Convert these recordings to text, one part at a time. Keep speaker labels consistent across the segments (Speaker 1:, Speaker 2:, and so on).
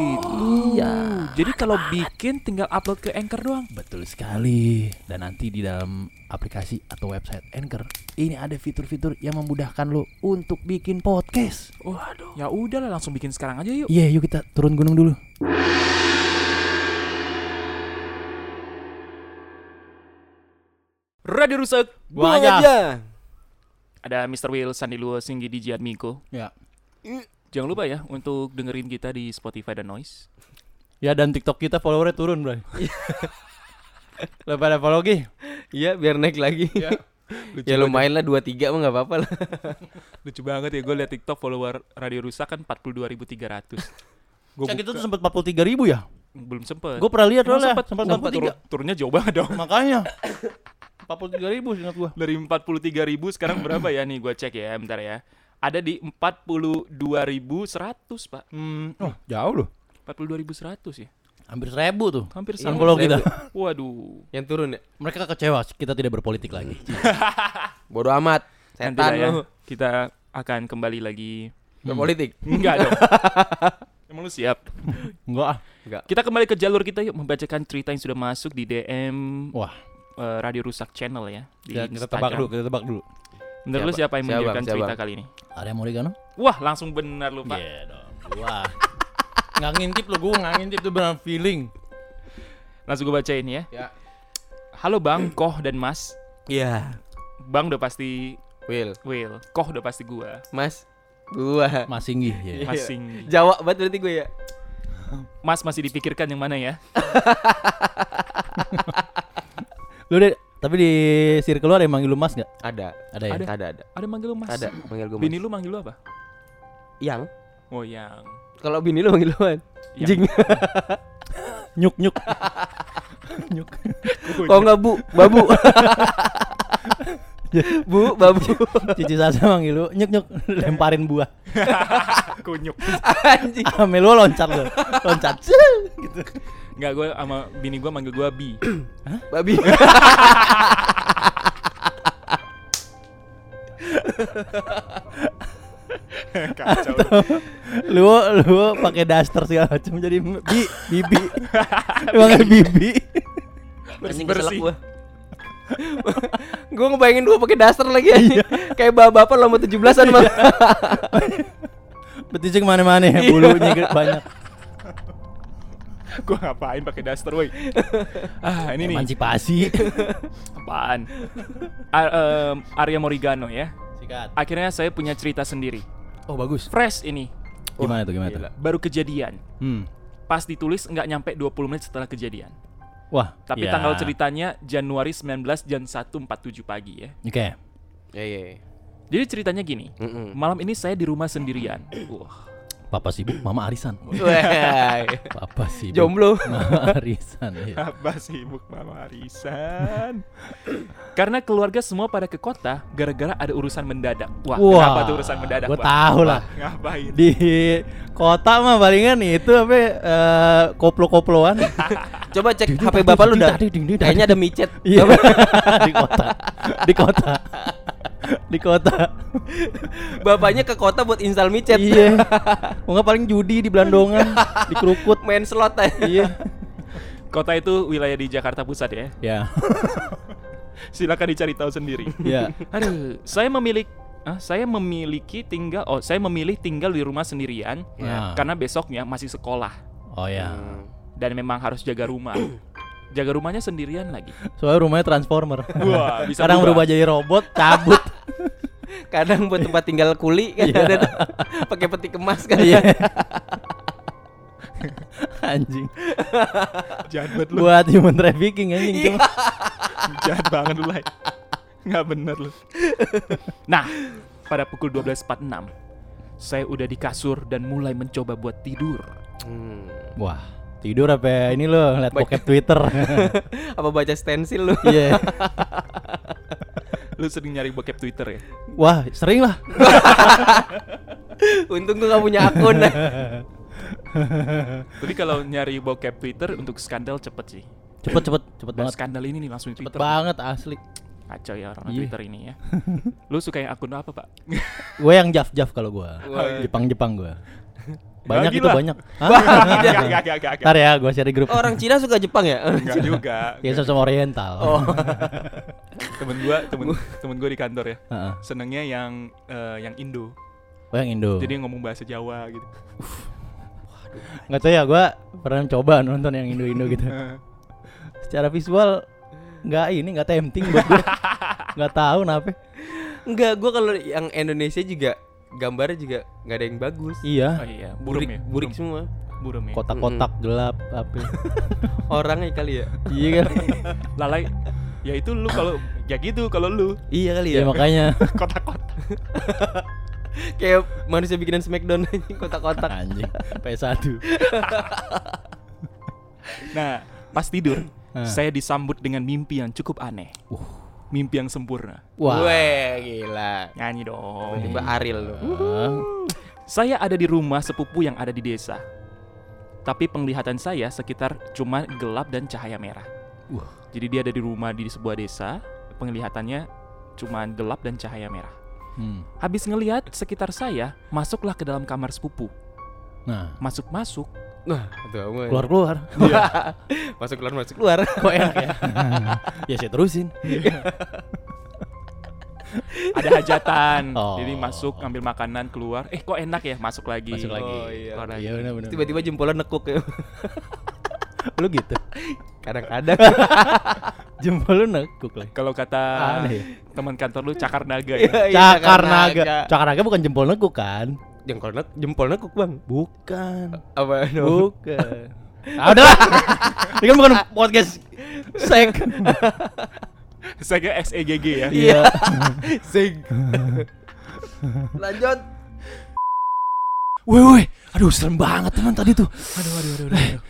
Speaker 1: gitu.
Speaker 2: Iya.
Speaker 1: Jadi kalau bikin tinggal upload ke Anchor doang.
Speaker 2: Betul sekali. Dan nanti di dalam aplikasi atau website Anchor, ini ada fitur-fitur yang memudahkan lo untuk bikin podcast.
Speaker 1: Waduh. Ya udahlah langsung bikin sekarang aja yuk.
Speaker 2: Iya, yuk kita turun gunung dulu.
Speaker 1: Radio rusak.
Speaker 3: Buang
Speaker 2: Banyak.
Speaker 3: aja.
Speaker 1: Ada Mr. Will Sandi Luo Singgi di Jian Miko.
Speaker 2: Ya.
Speaker 1: Jangan lupa ya untuk dengerin kita di Spotify dan Noise.
Speaker 2: Ya dan TikTok kita followernya turun, Bro. Lo pada follow lagi?
Speaker 3: Iya, biar naik lagi. Ya, lumayan lah 2 3 mah enggak apa-apa lah.
Speaker 1: Lucu banget ya gue liat TikTok follower Radio Rusak kan 42.300.
Speaker 2: Gua kita tuh sempat 43 ribu ya?
Speaker 1: Belum sempet.
Speaker 2: Gue pernah lihat
Speaker 1: Emang
Speaker 2: soalnya.
Speaker 1: sempet,
Speaker 2: Sempat
Speaker 1: sempet
Speaker 2: 43.
Speaker 1: turun- turunnya jauh banget dong.
Speaker 2: Makanya 43 ribu ingat gua
Speaker 1: Dari 43.000 sekarang berapa ya nih gue cek ya bentar ya. Ada di 42.100 pak.
Speaker 2: hmm, oh, Jauh loh
Speaker 1: 42.100 ya.
Speaker 2: Hampir seribu tuh
Speaker 1: Hampir
Speaker 2: Yang
Speaker 1: sama.
Speaker 2: follow kita
Speaker 1: Waduh.
Speaker 3: Yang turun ya.
Speaker 2: Mereka kecewa kita tidak berpolitik lagi
Speaker 3: Bodoh amat.
Speaker 1: Nanti lah
Speaker 3: Setan
Speaker 1: ya,
Speaker 3: lu.
Speaker 1: kita akan kembali lagi.
Speaker 3: Berpolitik.
Speaker 1: Enggak dong. Emang lu siap?
Speaker 2: Enggak ah
Speaker 1: Kita kembali ke jalur kita yuk membacakan cerita yang sudah masuk di DM
Speaker 2: Wah
Speaker 1: eh, Radio Rusak Channel ya. Di
Speaker 2: kita, kita tebak
Speaker 1: Instagram.
Speaker 2: dulu Kita tebak dulu
Speaker 1: Menurut lu
Speaker 3: Siapa?
Speaker 1: siapa yang
Speaker 3: Siapa,
Speaker 1: mengirimkan
Speaker 3: siapa?
Speaker 1: cerita kali ini?
Speaker 2: Ada yang mau digano?
Speaker 1: Wah, langsung benar lu, Pak.
Speaker 2: Iya dong Wah Nggak ngintip lo gua nggak ngintip tuh benar feeling
Speaker 1: Langsung gue bacain ya.
Speaker 3: Ya.
Speaker 1: Halo Bang, Koh dan Mas.
Speaker 3: Iya.
Speaker 1: Bang udah pasti
Speaker 3: Will,
Speaker 1: Will, Koh udah pasti gua.
Speaker 3: Mas. Gua.
Speaker 2: Mas Singgi ya.
Speaker 3: Iya.
Speaker 1: Mas Singgi.
Speaker 3: Jawa banget berarti gue ya.
Speaker 1: Mas masih dipikirkan yang mana ya?
Speaker 2: Lu deh Tapi di circle lu ada yang manggil lu mas nggak?
Speaker 3: Ada.
Speaker 2: Ada ya?
Speaker 3: Ada Eh, ada. Ada.
Speaker 1: Ada manggil lu Mas.
Speaker 3: ada. Manggil gue
Speaker 1: Bini
Speaker 3: Mas.
Speaker 1: lu manggil lu apa?
Speaker 3: Yang.
Speaker 1: Oh, yang.
Speaker 3: Kalau bini lu manggil lu.
Speaker 1: Yang.
Speaker 3: Jing.
Speaker 2: Nyuk nyuk Nyuk
Speaker 3: Kalau Oh, enggak Bu, Babu. bu, Babu.
Speaker 2: Cici Sasa manggil lu Nyuk nyuk Lemparin buah
Speaker 1: Kunyuk.
Speaker 3: Anjing.
Speaker 2: Ame Ah, lu loncat lu Loncat gitu.
Speaker 1: Enggak, gue sama bini gue manggil gue Bi.
Speaker 3: Babi.
Speaker 1: Kacau.
Speaker 2: lu lu pakai daster segala macam jadi bi bibi Lu panggil bibi
Speaker 3: Anjing
Speaker 1: Bersih-bersih.
Speaker 3: keselak gua. gua ngebayangin gua pakai daster lagi anjing. Kayak bapak-bapak lomba 17-an mah.
Speaker 2: betisnya kemana-mana ya bulunya ge- banyak
Speaker 1: gue ngapain pakai daster, woi? Ah, ini nih.
Speaker 2: emansipasi
Speaker 1: Apaan? Ar- em, Arya Morigano ya.
Speaker 2: sikat
Speaker 1: Akhirnya saya punya cerita sendiri.
Speaker 2: oh bagus
Speaker 1: Fresh ini.
Speaker 2: gimana tuh gimana tuh
Speaker 3: gila.
Speaker 1: Baru kejadian.
Speaker 2: hmm
Speaker 1: Pas ditulis nggak nyampe 20 menit setelah kejadian.
Speaker 2: wah
Speaker 1: Tapi
Speaker 2: ya.
Speaker 1: tanggal ceritanya Januari 19 jam 1.47 pagi ya.
Speaker 2: oke
Speaker 3: Iya, iya.
Speaker 1: Jadi ceritanya gini.
Speaker 3: Mm-mm.
Speaker 1: Malam ini saya di rumah sendirian. Wah.
Speaker 2: papa sibuk mama arisan
Speaker 3: Iya. Wah.
Speaker 2: papa sibuk
Speaker 3: Jomblo.
Speaker 2: mama arisan iya.
Speaker 1: Apa sibuk Mama Arisan? Karena keluarga semua pada ke kota gara-gara ada urusan mendadak. Wah, kenapa tuh urusan mendadak?
Speaker 2: gue
Speaker 1: Wak?
Speaker 2: tahu lah
Speaker 1: Ngapain?
Speaker 2: di kota mah palingan itu apa eh, koplo-koploan
Speaker 3: Coba cek HP bapak lu dah. Kayaknya ada micet.
Speaker 2: Iya. di kota. Di kota. Di kota.
Speaker 3: Bapaknya ke kota buat install micet.
Speaker 2: Iya. Mau nggak paling judi di Blandongan, di Kerukut.
Speaker 3: Main slot aja.
Speaker 2: Iya.
Speaker 1: Kota itu wilayah di Jakarta Pusat ya.
Speaker 2: Ya.
Speaker 1: Silakan dicari tahu sendiri.
Speaker 2: Ya.
Speaker 1: Aduh, saya memiliki ah, saya memiliki tinggal oh, saya memilih tinggal di rumah sendirian
Speaker 2: Ya.
Speaker 1: karena besoknya masih sekolah
Speaker 2: Oh ya.
Speaker 1: dan memang harus jaga rumah. jaga rumahnya sendirian lagi.
Speaker 2: Soalnya rumahnya transformer.
Speaker 1: Wah, bisa
Speaker 2: Sekarang
Speaker 1: berubah.
Speaker 2: berubah jadi robot, cabut.
Speaker 3: Kadang buat tempat tinggal kuli kan ada tuh. pakai peti kemas kan.
Speaker 2: Iya. anjing.
Speaker 1: Jahat banget
Speaker 2: Buat human trafficking anjing cuma.
Speaker 1: jahat banget lu, Lai. Nggak bener lu. Nah, pada pukul 12.46, Saya udah di kasur dan mulai mencoba buat tidur.
Speaker 3: Hmm.
Speaker 2: Wah, tidur apa ya? ini lo liat
Speaker 3: Baik.
Speaker 2: pocket Twitter.
Speaker 3: Apa baca stensil lu?
Speaker 2: Iya.
Speaker 1: Lu sering nyari bokep Twitter ya?
Speaker 2: Wah, sering lah.
Speaker 3: Untung gua gak punya akun.
Speaker 1: Jadi kalau nyari bokep Twitter untuk skandal cepet sih.
Speaker 2: Cepet cepet cepet
Speaker 1: Dan
Speaker 2: banget.
Speaker 1: skandal ini nih langsung di
Speaker 2: Cepet
Speaker 1: Twitter.
Speaker 2: banget asli.
Speaker 1: Kacau ya orang
Speaker 2: Iya.
Speaker 1: Twitter ini ya. Lu suka yang akun apa, Pak?
Speaker 2: Gue yang jaf jaf kalau gue.
Speaker 3: Wah.
Speaker 2: Jepang Jepang gue. Banyak
Speaker 1: Bagi
Speaker 2: itu
Speaker 1: lah.
Speaker 2: banyak.
Speaker 1: Gak, gak, gak, gak, gak.
Speaker 2: Ntar ya, gue share di grup.
Speaker 3: Orang Cina suka Jepang ya?
Speaker 1: Enggak juga.
Speaker 2: Ya sama Oriental.
Speaker 3: Oh.
Speaker 1: Temen gua, temen, temen gua di kantor ya.
Speaker 2: Heeh.
Speaker 1: Senengnya yang eh, yang Indo.
Speaker 2: Oh yang Indo.
Speaker 1: Jadi ngomong bahasa Jawa gitu.
Speaker 2: nggak tahu ya gue pernah coba nonton yang Indo Indo gitu. Secara visual nggak ini nggak tempting buat gue. nggak tahu kenapa.
Speaker 3: Enggak, gua kalau yang Indonesia juga gambarnya juga nggak ada yang bagus.
Speaker 1: Oh
Speaker 2: Iya.
Speaker 1: iya, burum
Speaker 3: Burik,
Speaker 1: ya.
Speaker 3: burik semua.
Speaker 1: burum ya.
Speaker 2: Kotak-kotak gelap apa?
Speaker 3: Orangnya kali ya.
Speaker 2: iya kan?
Speaker 1: Lalai. Ya itu lu kalau ya gitu kalau lu
Speaker 3: Iya kali
Speaker 2: Iya
Speaker 3: ya.
Speaker 2: makanya.
Speaker 1: kotak-kotak.
Speaker 3: Kayak manusia bikinan Smackdown anjing kotak-kotak.
Speaker 2: Anjing. PS1.
Speaker 1: Nah, pas tidur
Speaker 2: Hah.
Speaker 1: saya disambut dengan mimpi yang cukup aneh. Mimpi yang sempurna.
Speaker 2: Wah.
Speaker 3: Weh, gila.
Speaker 1: Nyanyi dong.
Speaker 3: Tiba-tiba Ariel lu.
Speaker 1: Saya ada di rumah sepupu yang ada di desa. Tapi penglihatan saya sekitar cuma gelap dan cahaya merah.
Speaker 2: Wah.
Speaker 1: Jadi dia ada di rumah di sebuah desa, penglihatannya cuma gelap dan cahaya merah.
Speaker 2: Hmm.
Speaker 1: Habis ngelihat sekitar saya, masuklah ke dalam kamar sepupu.
Speaker 2: Nah,
Speaker 1: Masuk-masuk,
Speaker 3: Nah, itu aman.
Speaker 2: keluar-keluar.
Speaker 3: Iya. Masuk keluar masuk keluar.
Speaker 2: Kok enak ya? ya saya terusin.
Speaker 1: ada hajatan.
Speaker 2: Oh.
Speaker 1: Jadi masuk, ngambil makanan, keluar. Eh kok enak ya, masuk lagi.
Speaker 2: Masuk lagi.
Speaker 3: Oh, iya.
Speaker 1: Keluar lagi.
Speaker 2: Iya benar-benar.
Speaker 3: Tiba-tiba jempolnya nekuk ya.
Speaker 2: Lu gitu.
Speaker 3: Kadang-kadang.
Speaker 2: Jempol lu nekuk lagi.
Speaker 1: Kalau kata
Speaker 2: Aneh. ya?
Speaker 1: teman kantor lu cakar naga ya.
Speaker 3: Iya, iya,
Speaker 2: Cakar naga. Cakar naga bukan jempol nekuk kan?
Speaker 3: Jempol nek jempol nekuk, Bang.
Speaker 2: Bukan.
Speaker 3: Apa dong?
Speaker 2: Bukan. Ah, udahlah. Ini kan bukan podcast sek.
Speaker 1: Saya kira XEGG ya.
Speaker 2: Iya.
Speaker 3: Sing. Lanjut.
Speaker 2: Woi, woi. Aduh, serem banget teman tadi tuh.
Speaker 1: Aduh, aduh, aduh, aduh. aduh.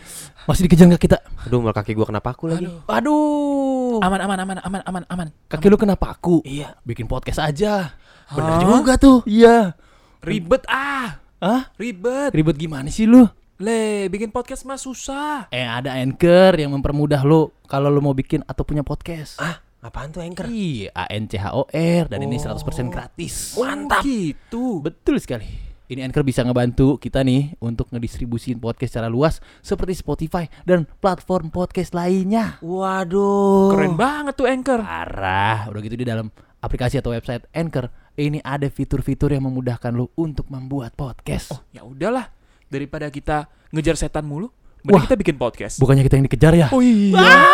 Speaker 2: Masih dikejar nggak kita?
Speaker 3: Aduh, mal kaki gua kenapa aku lagi?
Speaker 2: Aduh.
Speaker 1: Aman, aman, aman, aman, aman, aman.
Speaker 2: Kaki lu kenapa aku? Iya. Bikin podcast aja. Bener juga tuh. Iya.
Speaker 1: Ribet ah,
Speaker 2: Hah?
Speaker 1: ribet.
Speaker 2: Ribet gimana sih lu?
Speaker 1: Le, bikin podcast mah susah.
Speaker 2: Eh ada anchor yang mempermudah lu kalau lu mau bikin atau punya podcast.
Speaker 3: Ah, apaan tuh anchor?
Speaker 2: Iya, A N C H O R dan ini 100% gratis.
Speaker 1: Mantap. Oh, gitu.
Speaker 2: Betul sekali. Ini Anchor bisa ngebantu kita nih untuk ngedistribusin podcast secara luas seperti Spotify dan platform podcast lainnya.
Speaker 3: Waduh.
Speaker 1: Keren banget tuh Anchor.
Speaker 2: Ah. Parah, udah gitu di dalam aplikasi atau website Anchor, ini ada fitur-fitur yang memudahkan lo untuk membuat podcast.
Speaker 1: Oh, ya udahlah. Daripada kita ngejar setan mulu,
Speaker 2: Wah.
Speaker 1: mending kita bikin podcast.
Speaker 2: Bukannya kita yang dikejar ya?
Speaker 1: Oh iya.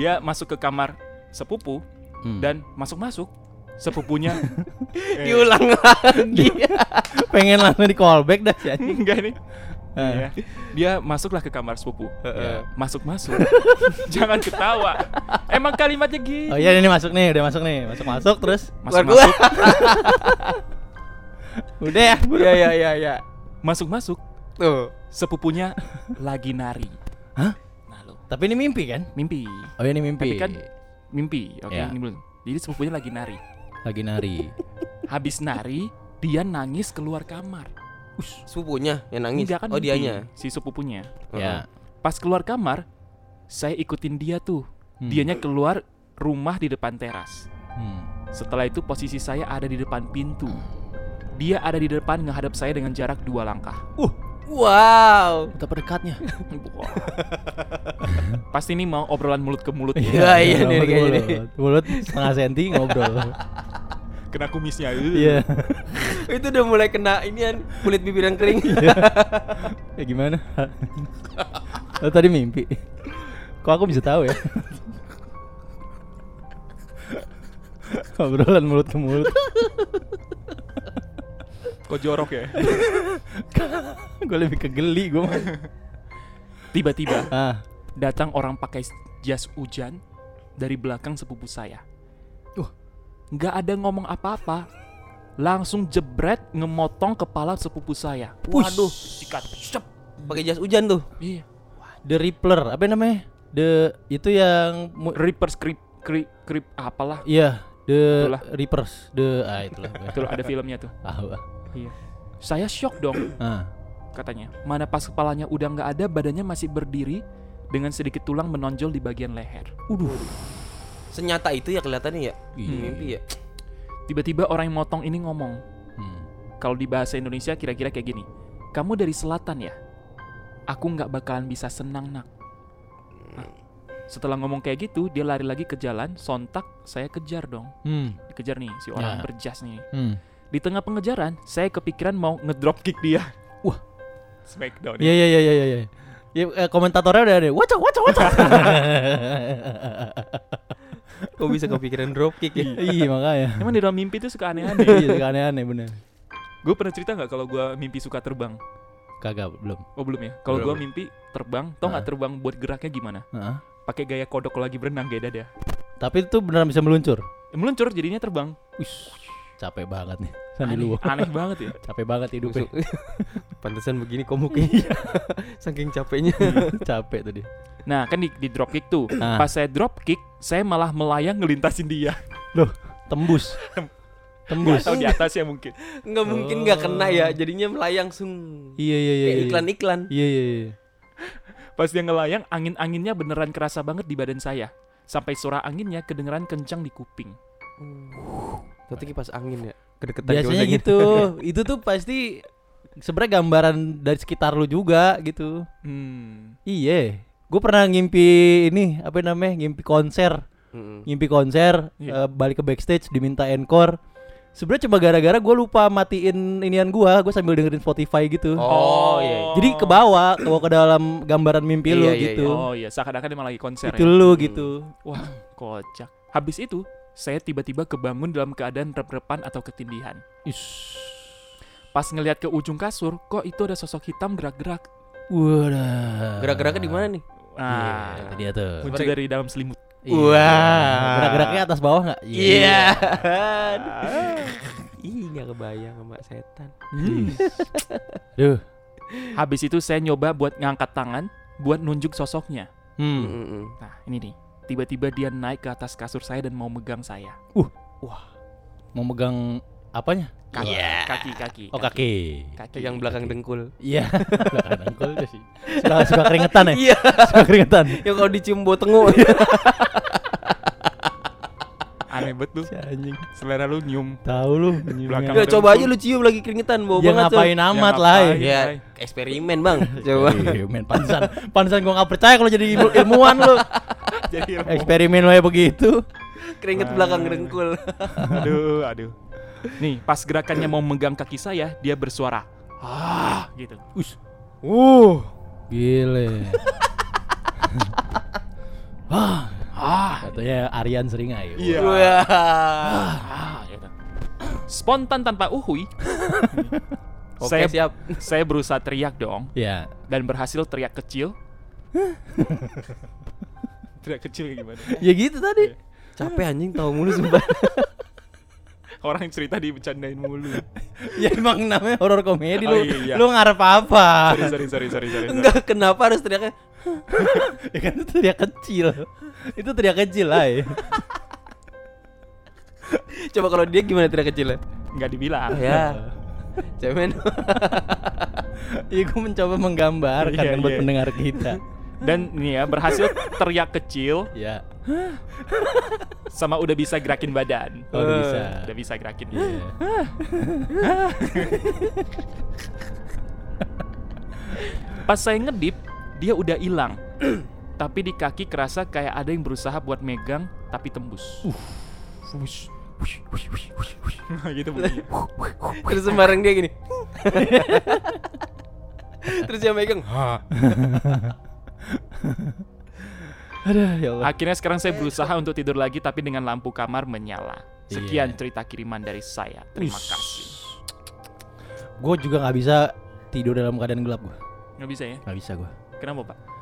Speaker 1: Dia masuk ke kamar sepupu
Speaker 2: Hmm.
Speaker 1: dan masuk-masuk sepupunya. Eh,
Speaker 3: Diulang lagi.
Speaker 2: pengen langsung di callback dah sih.
Speaker 1: Enggak nih.
Speaker 3: Eh.
Speaker 1: Iya. Dia masuklah ke kamar sepupu.
Speaker 3: Ah.
Speaker 1: Iya.
Speaker 3: Heeh.
Speaker 1: Masuk-masuk. Jangan ketawa. Emang kalimatnya gitu.
Speaker 2: Oh iya ini masuk nih, udah masuk nih, masuk masuk terus.
Speaker 3: Keluar
Speaker 1: Masuk-masuk.
Speaker 3: gua.
Speaker 2: Udah ya.
Speaker 3: Iya, iya, iya, iya.
Speaker 1: Masuk-masuk
Speaker 3: Tuh.
Speaker 1: sepupunya lagi nari.
Speaker 2: Hah?
Speaker 1: Nah lo,
Speaker 2: Tapi ini mimpi kan?
Speaker 1: mimpi.
Speaker 2: Oh iya ini mimpi.
Speaker 1: Tapi kan mimpi, oke
Speaker 2: Ya.
Speaker 1: ini belum. Jadi sepupunya lagi nari.
Speaker 2: Lagi nari.
Speaker 1: Habis nari, dia nangis keluar kamar.
Speaker 3: Sepupunya yang nangis.
Speaker 1: Enggak kan
Speaker 3: oh,
Speaker 1: mimpi,
Speaker 3: dianya. Oh.
Speaker 1: si sepupunya.
Speaker 2: ya.
Speaker 3: Iya.
Speaker 1: Pas keluar kamar, saya ikutin dia tuh. Dianya keluar rumah di depan teras.
Speaker 2: Hmm.
Speaker 1: Setelah itu posisi saya ada di depan pintu. Dia ada di depan ngehadap saya dengan jarak dua langkah.
Speaker 3: Wow.
Speaker 2: Betapa dekatnya.
Speaker 1: Wah. Pasti ini mau obrolan mulut ke mulut. ya.
Speaker 3: Iya, iya, nih,
Speaker 2: mulut,
Speaker 3: kayaknya nih.
Speaker 2: mulut. Mulut setengah senti ngobrol.
Speaker 1: Kena kumisnya.
Speaker 2: Iya.
Speaker 3: Itu udah mulai kena inian kulit bibir yang kering.
Speaker 2: ya gimana? Lo tadi mimpi. Kok aku bisa tahu ya? Obrolan mulut ke mulut.
Speaker 1: Kok jorok ya?
Speaker 2: gue lebih kegeli gue.
Speaker 1: Tiba-tiba
Speaker 2: Ah.
Speaker 1: datang orang pakai jas hujan dari belakang sepupu saya.
Speaker 2: Wah.
Speaker 1: nggak ada ngomong apa-apa. langsung jebret ngemotong kepala sepupu saya.
Speaker 2: Push.
Speaker 1: Waduh, sikat. Cep.
Speaker 3: Pakai jas hujan tuh.
Speaker 1: Iya.
Speaker 2: The Rippler, apa namanya? The itu yang mu-
Speaker 1: Reaper creep creep creep apalah.
Speaker 2: iya, The
Speaker 1: Itulah.
Speaker 2: Reapers, The ah itulah. gue
Speaker 1: Itu ada filmnya tuh.
Speaker 2: Tahu. ah.
Speaker 1: Iya. Saya shock dong
Speaker 2: Ah.
Speaker 1: katanya. Mana pas kepalanya udah nggak ada, badannya masih berdiri dengan sedikit tulang menonjol di bagian leher.
Speaker 2: Waduh.
Speaker 3: Senyata itu ya kelihatannya ya. Di
Speaker 2: Iya.
Speaker 3: Mimpi ya.
Speaker 1: Tiba-tiba orang yang motong ini ngomong.
Speaker 2: Hmm.
Speaker 1: Kalau di bahasa Indonesia kira-kira kayak gini. Kamu dari selatan ya? Aku nggak bakalan bisa senang nak. Nah, setelah ngomong kayak gitu, dia lari lagi ke jalan. Sontak saya kejar dong.
Speaker 2: Hmm.
Speaker 1: Dikejar nih si
Speaker 2: Ya.
Speaker 1: orang berjas nih.
Speaker 2: Hmm.
Speaker 1: Di tengah pengejaran, saya kepikiran mau ngedrop kick dia.
Speaker 2: Wah.
Speaker 1: Smackdown.
Speaker 2: Iya iya iya iya iya. Ya, eh, komentatornya udah ada. Wacok wacok wacok.
Speaker 3: Kok bisa kepikiran dropkick ya?
Speaker 2: Iya makanya.
Speaker 1: Emang di dalam mimpi itu suka aneh-aneh.
Speaker 2: Iya suka aneh-aneh bener.
Speaker 1: gue pernah cerita nggak kalau gue mimpi suka terbang?
Speaker 2: Kagak belum.
Speaker 1: Oh belum ya. Kalau gue
Speaker 3: Belum. Nah.
Speaker 1: mimpi terbang, tau nggak terbang buat geraknya gimana?
Speaker 2: Heeh.
Speaker 1: Pakai gaya kodok lagi berenang gaya dada.
Speaker 2: Tapi itu beneran bisa meluncur.
Speaker 1: Eh, Meluncur jadinya terbang.
Speaker 2: Ush, capek banget nih. Sandi
Speaker 1: Aneh,
Speaker 2: lu.
Speaker 1: aneh banget ya.
Speaker 2: Capek banget hidupnya.
Speaker 3: Busuk. Pantesan begini kok mukanya. Saking capeknya.
Speaker 2: capek tuh dia.
Speaker 1: Nah kan di, di drop kick tuh.
Speaker 3: Nah.
Speaker 2: Ah.
Speaker 1: Pas saya drop kick, saya malah melayang ngelintasin dia.
Speaker 2: Nah, Tembus. Tembus.
Speaker 1: Atau di atas ya mungkin.
Speaker 3: Enggak mungkin enggak kena ya. Jadinya melayang sung.
Speaker 2: Iya iya iya.
Speaker 3: Kayak
Speaker 2: iya.
Speaker 3: iklan-iklan.
Speaker 2: Iya iya iya.
Speaker 1: Pas dia ngelayang, angin-anginnya beneran kerasa banget di badan saya. Sampai suara anginnya kedengeran kencang di kuping.
Speaker 3: Berarti kipas angin ya. Kedeketan
Speaker 2: Biasanya gitu. itu tuh pasti sebenarnya gambaran dari sekitar lu juga gitu.
Speaker 1: Hmm.
Speaker 2: Iya. Gue pernah ngimpi ini apa namanya? Ngimpi konser. Ngimpi konser
Speaker 1: Iya.
Speaker 2: eh, balik ke backstage diminta encore. Sebenarnya cuma gara-gara gue lupa matiin inian gua, gue sambil dengerin Spotify gitu.
Speaker 3: Oh, iya. iya.
Speaker 2: Jadi ke bawah, ke bawah ke dalam gambaran mimpi lu
Speaker 3: Iya, iya,
Speaker 2: gitu.
Speaker 1: Oh iya, seakan-akan emang lagi konser
Speaker 2: Itu
Speaker 1: ya.
Speaker 2: lu
Speaker 3: Hmm.
Speaker 2: gitu.
Speaker 1: Wah, kocak. Habis itu, saya tiba-tiba kebangun dalam keadaan rep-repan atau ketindihan. Pas ngelihat ke ujung kasur, kok itu ada sosok hitam gerak-gerak.
Speaker 2: Wadah.
Speaker 3: Gerak-geraknya di mana nih?
Speaker 1: Ah,
Speaker 2: Itu Nah, dia tuh.
Speaker 1: muncul dari dalam selimut.
Speaker 2: Iya.
Speaker 3: Wah.
Speaker 2: Gerak-geraknya atas bawah nggak?
Speaker 3: Iya.
Speaker 2: Iya.
Speaker 3: Ih, enggak kebayang sama setan.
Speaker 2: Hmm. Duh.
Speaker 1: Habis itu saya nyoba buat ngangkat tangan, buat nunjuk sosoknya.
Speaker 2: Hmm.
Speaker 3: Mm-mm.
Speaker 1: Nah, ini nih. Tiba-tiba dia naik ke atas kasur saya dan mau megang saya.
Speaker 2: Mau megang apanya?
Speaker 1: Kaki,
Speaker 3: Iya.
Speaker 1: kaki, kaki.
Speaker 2: Oh kaki.
Speaker 1: Kaki.
Speaker 3: Kayak yang belakang dengkul.
Speaker 2: Iya.
Speaker 3: kan
Speaker 2: Belakang dengkul itu sih. Suka, suka keringetan ya?
Speaker 3: Iya,
Speaker 2: Suka keringetan.
Speaker 3: yang Ya, kalau dicium bau tengu.
Speaker 1: Aneh betul.
Speaker 2: Si anjing.
Speaker 1: Selera lu nyium.
Speaker 2: Tahu lu.
Speaker 1: Belakang.
Speaker 3: Ya, coba aja lu cium lagi keringetan bau
Speaker 2: Dia
Speaker 3: banget tuh.
Speaker 2: ngapain amat lah. ya.
Speaker 1: ngapain.
Speaker 3: Ya, eksperimen, Bang. Coba.
Speaker 2: Iya, men pansan. Pansan gua nggak percaya kalau jadi ilmu- ilmuwan lu.
Speaker 1: Jadi
Speaker 2: Eksperimen lo ya begitu.
Speaker 3: Keringet belakang dengkul.
Speaker 1: aduh, aduh. Nih, pas gerakannya mau megang kaki saya, dia bersuara. Ah, gitu.
Speaker 2: Us. Uh. Gile. Wah,
Speaker 1: Ah,
Speaker 2: katanya Aryan ya, sering ayo.
Speaker 3: Ya.
Speaker 1: Iya.
Speaker 3: Wah.
Speaker 1: ah, gitu. Spontan tanpa uhui.
Speaker 3: Oke,
Speaker 1: saya
Speaker 3: siap.
Speaker 1: saya berusaha teriak dong
Speaker 2: Iya.
Speaker 1: dan berhasil teriak kecil. teriak kecil kayak gimana?
Speaker 2: Ya gitu tadi.
Speaker 3: Capek anjing tahu mulu sumpah.
Speaker 1: Orang yang cerita dibecandain mulu.
Speaker 2: ya emang namanya horor komedi lu.
Speaker 1: Oh, iya, iya.
Speaker 2: Lu ngarep apa?
Speaker 1: Sorry, sorry, sorry, sorry, sorry. sorry.
Speaker 3: Enggak kenapa harus teriaknya
Speaker 2: ya kan itu teriak kecil. itu teriak kecil lah. Ya.
Speaker 3: Coba kalau dia gimana teriak kecilnya?
Speaker 1: Enggak dibilang.
Speaker 3: Ya. Cemen.
Speaker 2: ya gue mencoba menggambarkan
Speaker 1: Iya,
Speaker 2: kan buat
Speaker 1: iya.
Speaker 2: pendengar kita.
Speaker 1: Dan nih ya, berhasil teriak kecil
Speaker 2: ya.
Speaker 1: sama udah bisa gerakin badan. Eh.
Speaker 2: Oh, udah bisa.
Speaker 1: Udah bisa gerakin.
Speaker 2: Iya.
Speaker 1: Pas saya ngedip, dia udah hilang. tapi di kaki kerasa kayak ada yang berusaha buat megang tapi tembus.
Speaker 2: Uh,
Speaker 1: gitu bunyinya.
Speaker 3: Terus sembarang dia gini. Terus yang megang.
Speaker 2: Aduh, ya Allah.
Speaker 1: Akhirnya sekarang saya berusaha untuk tidur lagi tapi dengan lampu kamar menyala. Sekian
Speaker 2: Iya.
Speaker 1: cerita kiriman dari saya. Terima kasih.
Speaker 2: Gue juga nggak bisa tidur dalam keadaan gelap gue.
Speaker 1: Nggak bisa ya?
Speaker 2: Nggak bisa gue.
Speaker 1: Kenapa, Pak?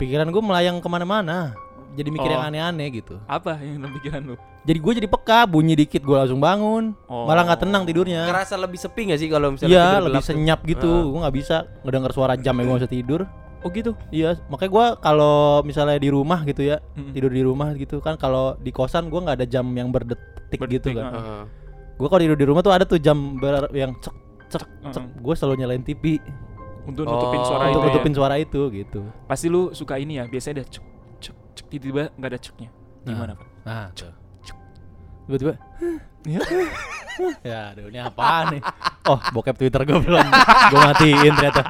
Speaker 2: Pikiran gue melayang kemana-mana. jadi mikir
Speaker 1: Oh.
Speaker 2: yang aneh-aneh gitu.
Speaker 1: Apa yang dalam pikiran lu?
Speaker 2: Jadi gue jadi peka, bunyi dikit gue langsung bangun.
Speaker 1: Oh.
Speaker 2: Malah nggak tenang tidurnya.
Speaker 3: Kerasa lebih sepi gak sih kalau misalnya
Speaker 2: Iya,
Speaker 3: tidur
Speaker 2: lebih
Speaker 3: gelap tuh?
Speaker 2: senyap gitu.
Speaker 3: Ah.
Speaker 2: Gue nggak bisa ngedenger suara jam ya gue nggak bisa tidur.
Speaker 1: Oh gitu.
Speaker 2: Iya, makanya gue kalau misalnya di rumah gitu ya,
Speaker 1: Mm-mm.
Speaker 2: tidur di rumah gitu kan. Kalau di kosan gue nggak ada jam yang berdetik, gitu
Speaker 1: Berdetik,
Speaker 2: kan.
Speaker 1: ah.
Speaker 3: Heeh.
Speaker 2: Gue kalau tidur di rumah tuh ada tuh jam ber- yang cek cek
Speaker 1: Mm-mm. iya,
Speaker 2: cek. Gue selalu nyalain TV
Speaker 1: Untuk nutupin
Speaker 3: Oh.
Speaker 1: suara
Speaker 2: untuk
Speaker 1: itu.
Speaker 2: nutupin suara itu gitu.
Speaker 1: Ya. Pasti lu suka ini ya. Biasanya ada cuk cuk cuk tiba-tiba nggak ada cuknya. Gimana, Pak?
Speaker 2: Nah, tuh. tiba-tiba ya, ya aduh ini apaan nih? Oh, bokep Twitter gue belum gue matiin ternyata.